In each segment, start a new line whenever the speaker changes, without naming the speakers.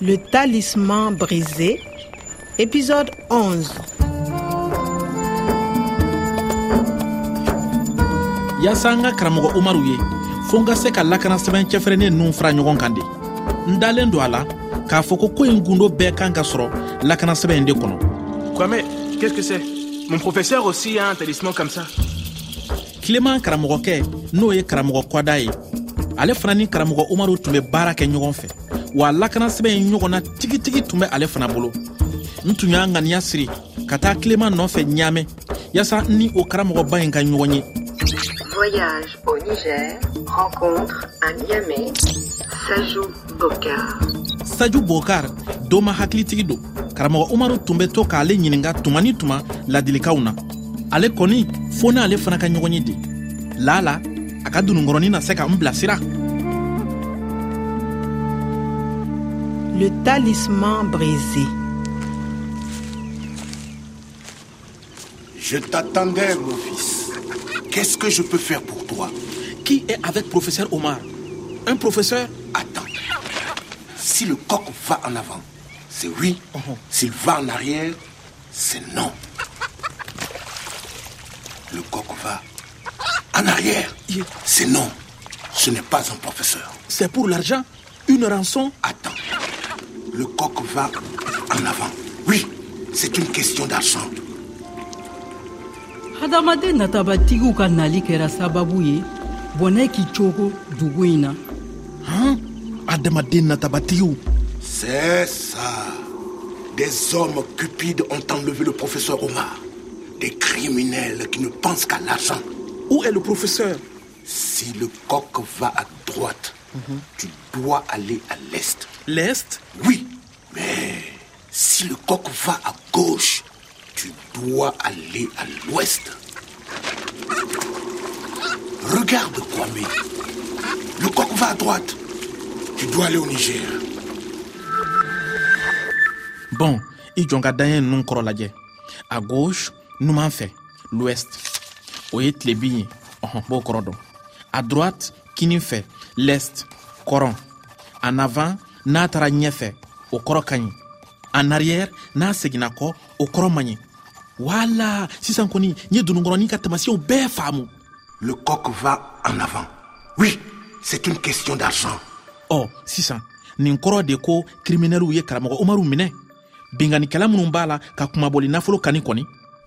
Le talisman brisé, épisode 11.
yaasa n ka karamɔgɔ umaru ye fo n ka se ka lakana sɛbɛn cɛfɛrɛnnen ninnu fara ɲɔgɔn kan de n dalen don a la k'a fɔ ko ko in gundo bɛɛ kan ka sɔrɔ lakana sɛbɛn in de kɔnɔ
Kwame, qu'est-ce que c'est Mon professeur aussi a un talisman comme ça.
kileman karamɔgɔkɛ n'o ye karamɔgɔ kwada ye ale fana ni karamɔgɔ umaru tun bɛ baara kɛ ɲɔgɔn fɛ wa lakana sɛbɛn in ɲɔgɔnna tigitigi tun bɛ ale fana bolo n tun y'a ŋaniya siri ka taa kileman nɔfɛ ɲaamɛ yaasa n ni o karamɔgɔba in ka ɲɔgɔn ye
Voyage au Niger, rencontre à Niamey, Sajou Bokar.
saju bokar dɔ ma hakilitigi don karamɔgɔ umaru tun bɛ to k'ale ɲininga tuma ni tuma ladilikaw na ale kɔni fɔɔ n'ale fana ka ɲɔgɔn ye de lala a ka dununkɔrɔnin na se ka n bilasira
Le talisman brisé.
Je t'attendais, mon fils. Qu'est-ce que je peux faire pour toi
qui est avec professeur omar un professeur
Attends. Si le coq va en avant, c'est oui. S'il va en arrière, c'est non. Le coq va en arrière,
Il-
c'est non. Ce n'est pas un professeur.
c'est pour l'argent une rançon
Attends. Le coq va en avant. Oui, c'est une question d'argent.
hadamaden natabatigiw ka nali kɛra sababu ye bɔnɛ k'i cogo dugu in na
han adamaden natabatigiw
C'est ça. Des hommes cupides ont enlevé le professeur Omar. Des criminels qui ne pensent qu'à l'argent.
où est le professeur
Si le coq va à droite, tu dois aller à l'est.
l'est
Oui, mais si le coq va à gauche, tu dois aller à l'ouest. Regarde, Kwame. Le coq va à droite. Tu dois aller au Niger.
bon i jɔn ka daɲɛ ninnu kɔrɔ lajɛ à gauche numan fɛ l'ouest o ye tilebin ye ɔhɔn b'o kɔrɔ dɔn à droite kini fɛ l'est kɔrɔn en avant n'a taara ɲɛfɛ o kɔrɔ ka ɲi en arrière n'a seginna kɔ o kɔrɔ man ɲi wala sisan kɔni n ye dununkɔrɔnin ka tamasiyɛnw bɛɛ faamu
Le coq va en avant. Oui, c'est une question d'argent.
ɔ sisan nin kɔrɔ de ko kiriminɛliw ye karamɔgɔ umaru minɛ binganikɛla minw b'a la ka kumabɔli nafolo kani kɔni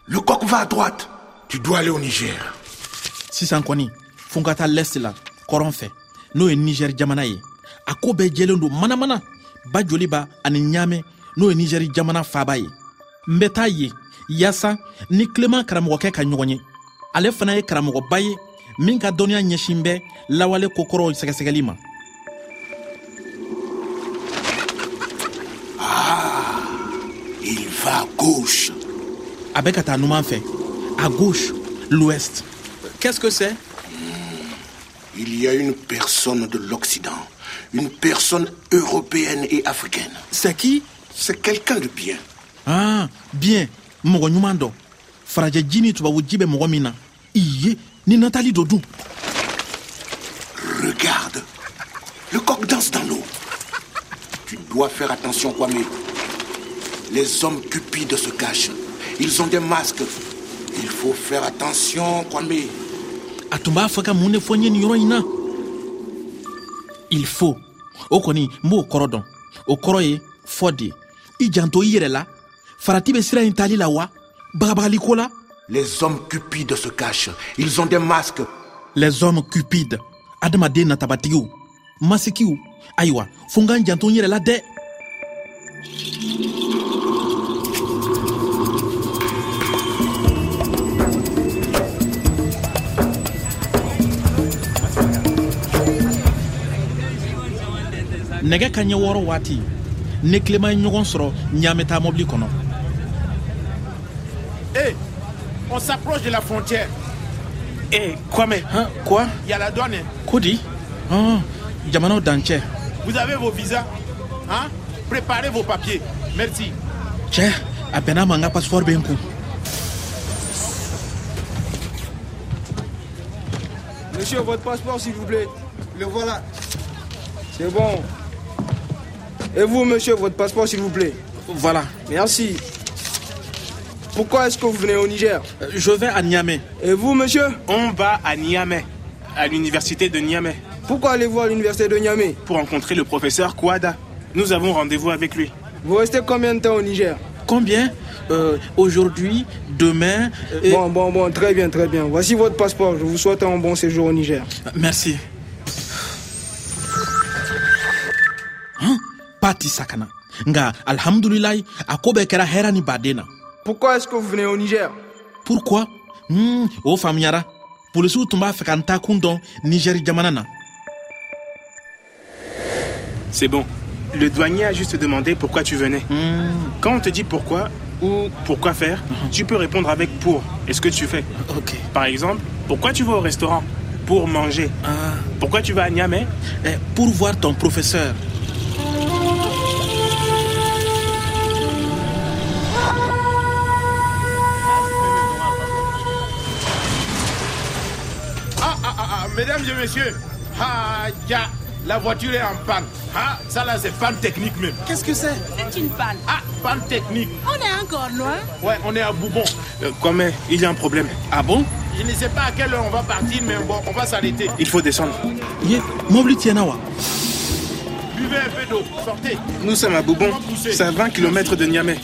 Le coq va à droite. Tu dois aller au Niger.
sisan kɔni fɔn ka taa lɛsi la kɔrɔn fɛ n'o ye nigɛri jamana ye a koo bɛɛ jɛlen don manamana bajoliba ani ɲaamɛ n'o ye nigɛri jamana faaba ye n bɛ taa ye yaasa ni kileman karamɔgɔkɛ ka ɲɔgɔn ye ale fana ye karamɔgɔba ye min ka dɔnniya ɲɛsin bɛ lawale kokɔrɔw sɛgɛsɛgɛli ma
Il va à gauche.
a bɛ ka taa numan fɛ à gauche l'ouest qu'est-ce que c'est
Il y a une personne de l'Occident, une personne européenne et africaine.
c'est qui
C'est quelqu'un de bien.
ah bien mɔgɔ ɲuman dɔ farajɛ ji ni tubabu ji bɛ mɔgɔ min na i ye ni natali dɔ dun
Regarde, le coq danse dans l'eau. Tu dois faire attention, Kwame. Les hommes cupides se cachent. Ils ont des masques. Il faut faire attention, Kwame.
a tun b'a fɛ ka mun de fɔ n ye nin yɔrɔ in na il faut o kɔni n b'o kɔrɔ dɔn o kɔrɔ ye fɔ de i janto i yɛrɛ la farati bɛ sira in tali la wa bagabagaliko la
Les hommes cupides se cachent. Ils ont des masques.
les hommes cupides adamaden natabatigiw masikiw ayiwa fo n ka n janto n yɛrɛ la dɛ nɛgɛ ka ɲɛ wɔɔrɔ waati ne kileman ye ɲɔgɔn sɔrɔ ɲaamɛ mobili kɔnɔ
Hé, Eh, on s'approche de la frontière.
Hé, Kwame,
han quoi
Il y a la douane. hein.
ko di hɔn jamanaw dancɛ
Vous avez vos visas. Hein? Préparez vos papiers. Merci.
cɛ a bɛnna ma n ka pasipɔri bɛ n kun
Monsieur, votre passeport, s'il vous plaît. Le voilà. C'est bon. Et vous, monsieur, votre passeport, s'il vous plaît.
Voilà,
Merci. Pourquoi est-ce que vous venez au Niger
Euh, je vais à Niamey.
Et vous, monsieur
On va à Niamey, à l'université de Niamey,
Pourquoi allez-vous à l'université de Niamey
pour rencontrer le professeur Kouada. Nous avons rendez-vous avec lui.
Vous restez combien de temps au Niger
Combien Euh, Aujourd'hui, demain. euh, et-
Bon, bon, bon, très bien, très bien. Voici votre passeport. Je vous souhaite un bon séjour au Niger.
Merci. Hein? Pati sakana. Nga alhamdulilayi a ko bɛɛ kɛra hɛra ni baden na.
Pourquoi est-ce que vous venez au Niger
pourquoi Hmm, o faamuyara polisiw tun b'a fɛ ka n taakun dɔn nigɛri jamana na
C'est bon. Le douanier a juste demandé pourquoi tu venais.
Hmm.
Quand on te dit pourquoi ou pourquoi faire, tu peux répondre avec pour et ce que tu fais.
ok
Par exemple, pourquoi tu vas au restaurant Pour manger.
Ah.
Pourquoi tu vas à Niamey
Eh, pour voir ton professeur
Ah, ah, ah, ah, mesdames et messieurs, ah, ya, la voiture est en panne. Ah, ça là, c'est panne technique même.
qu'est-ce que c'est
C'est une panne.
Ah, panne technique.
On est encore loin.
Ouais, on est à Boubon.
Euh, Quand même, il y a un problème.
ah bon
Je ne sais pas à quelle heure on va partir, mais bon, on va s'arrêter.
Il faut descendre.
ye mobili tiɲɛna wa
Buvez un peu d'eau, sortez.
Nous sommes à Boubon. C'est à 20 km de Niamey.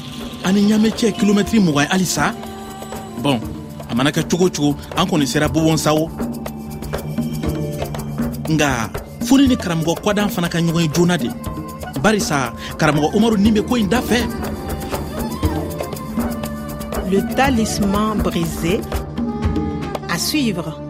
ani ɲamɛ cɛ kilomɛtiri mugan ye halisa bɔn a mana kɛ cogo o cogo an kɔni sera bubɔn sa o nga fo ne ni karamɔgɔ kɔdan fana ka ɲɔgɔn ye joona de barisa karamɔgɔ umaru nin bɛ ko in da fɛ
Le talisman brisé. À suivre.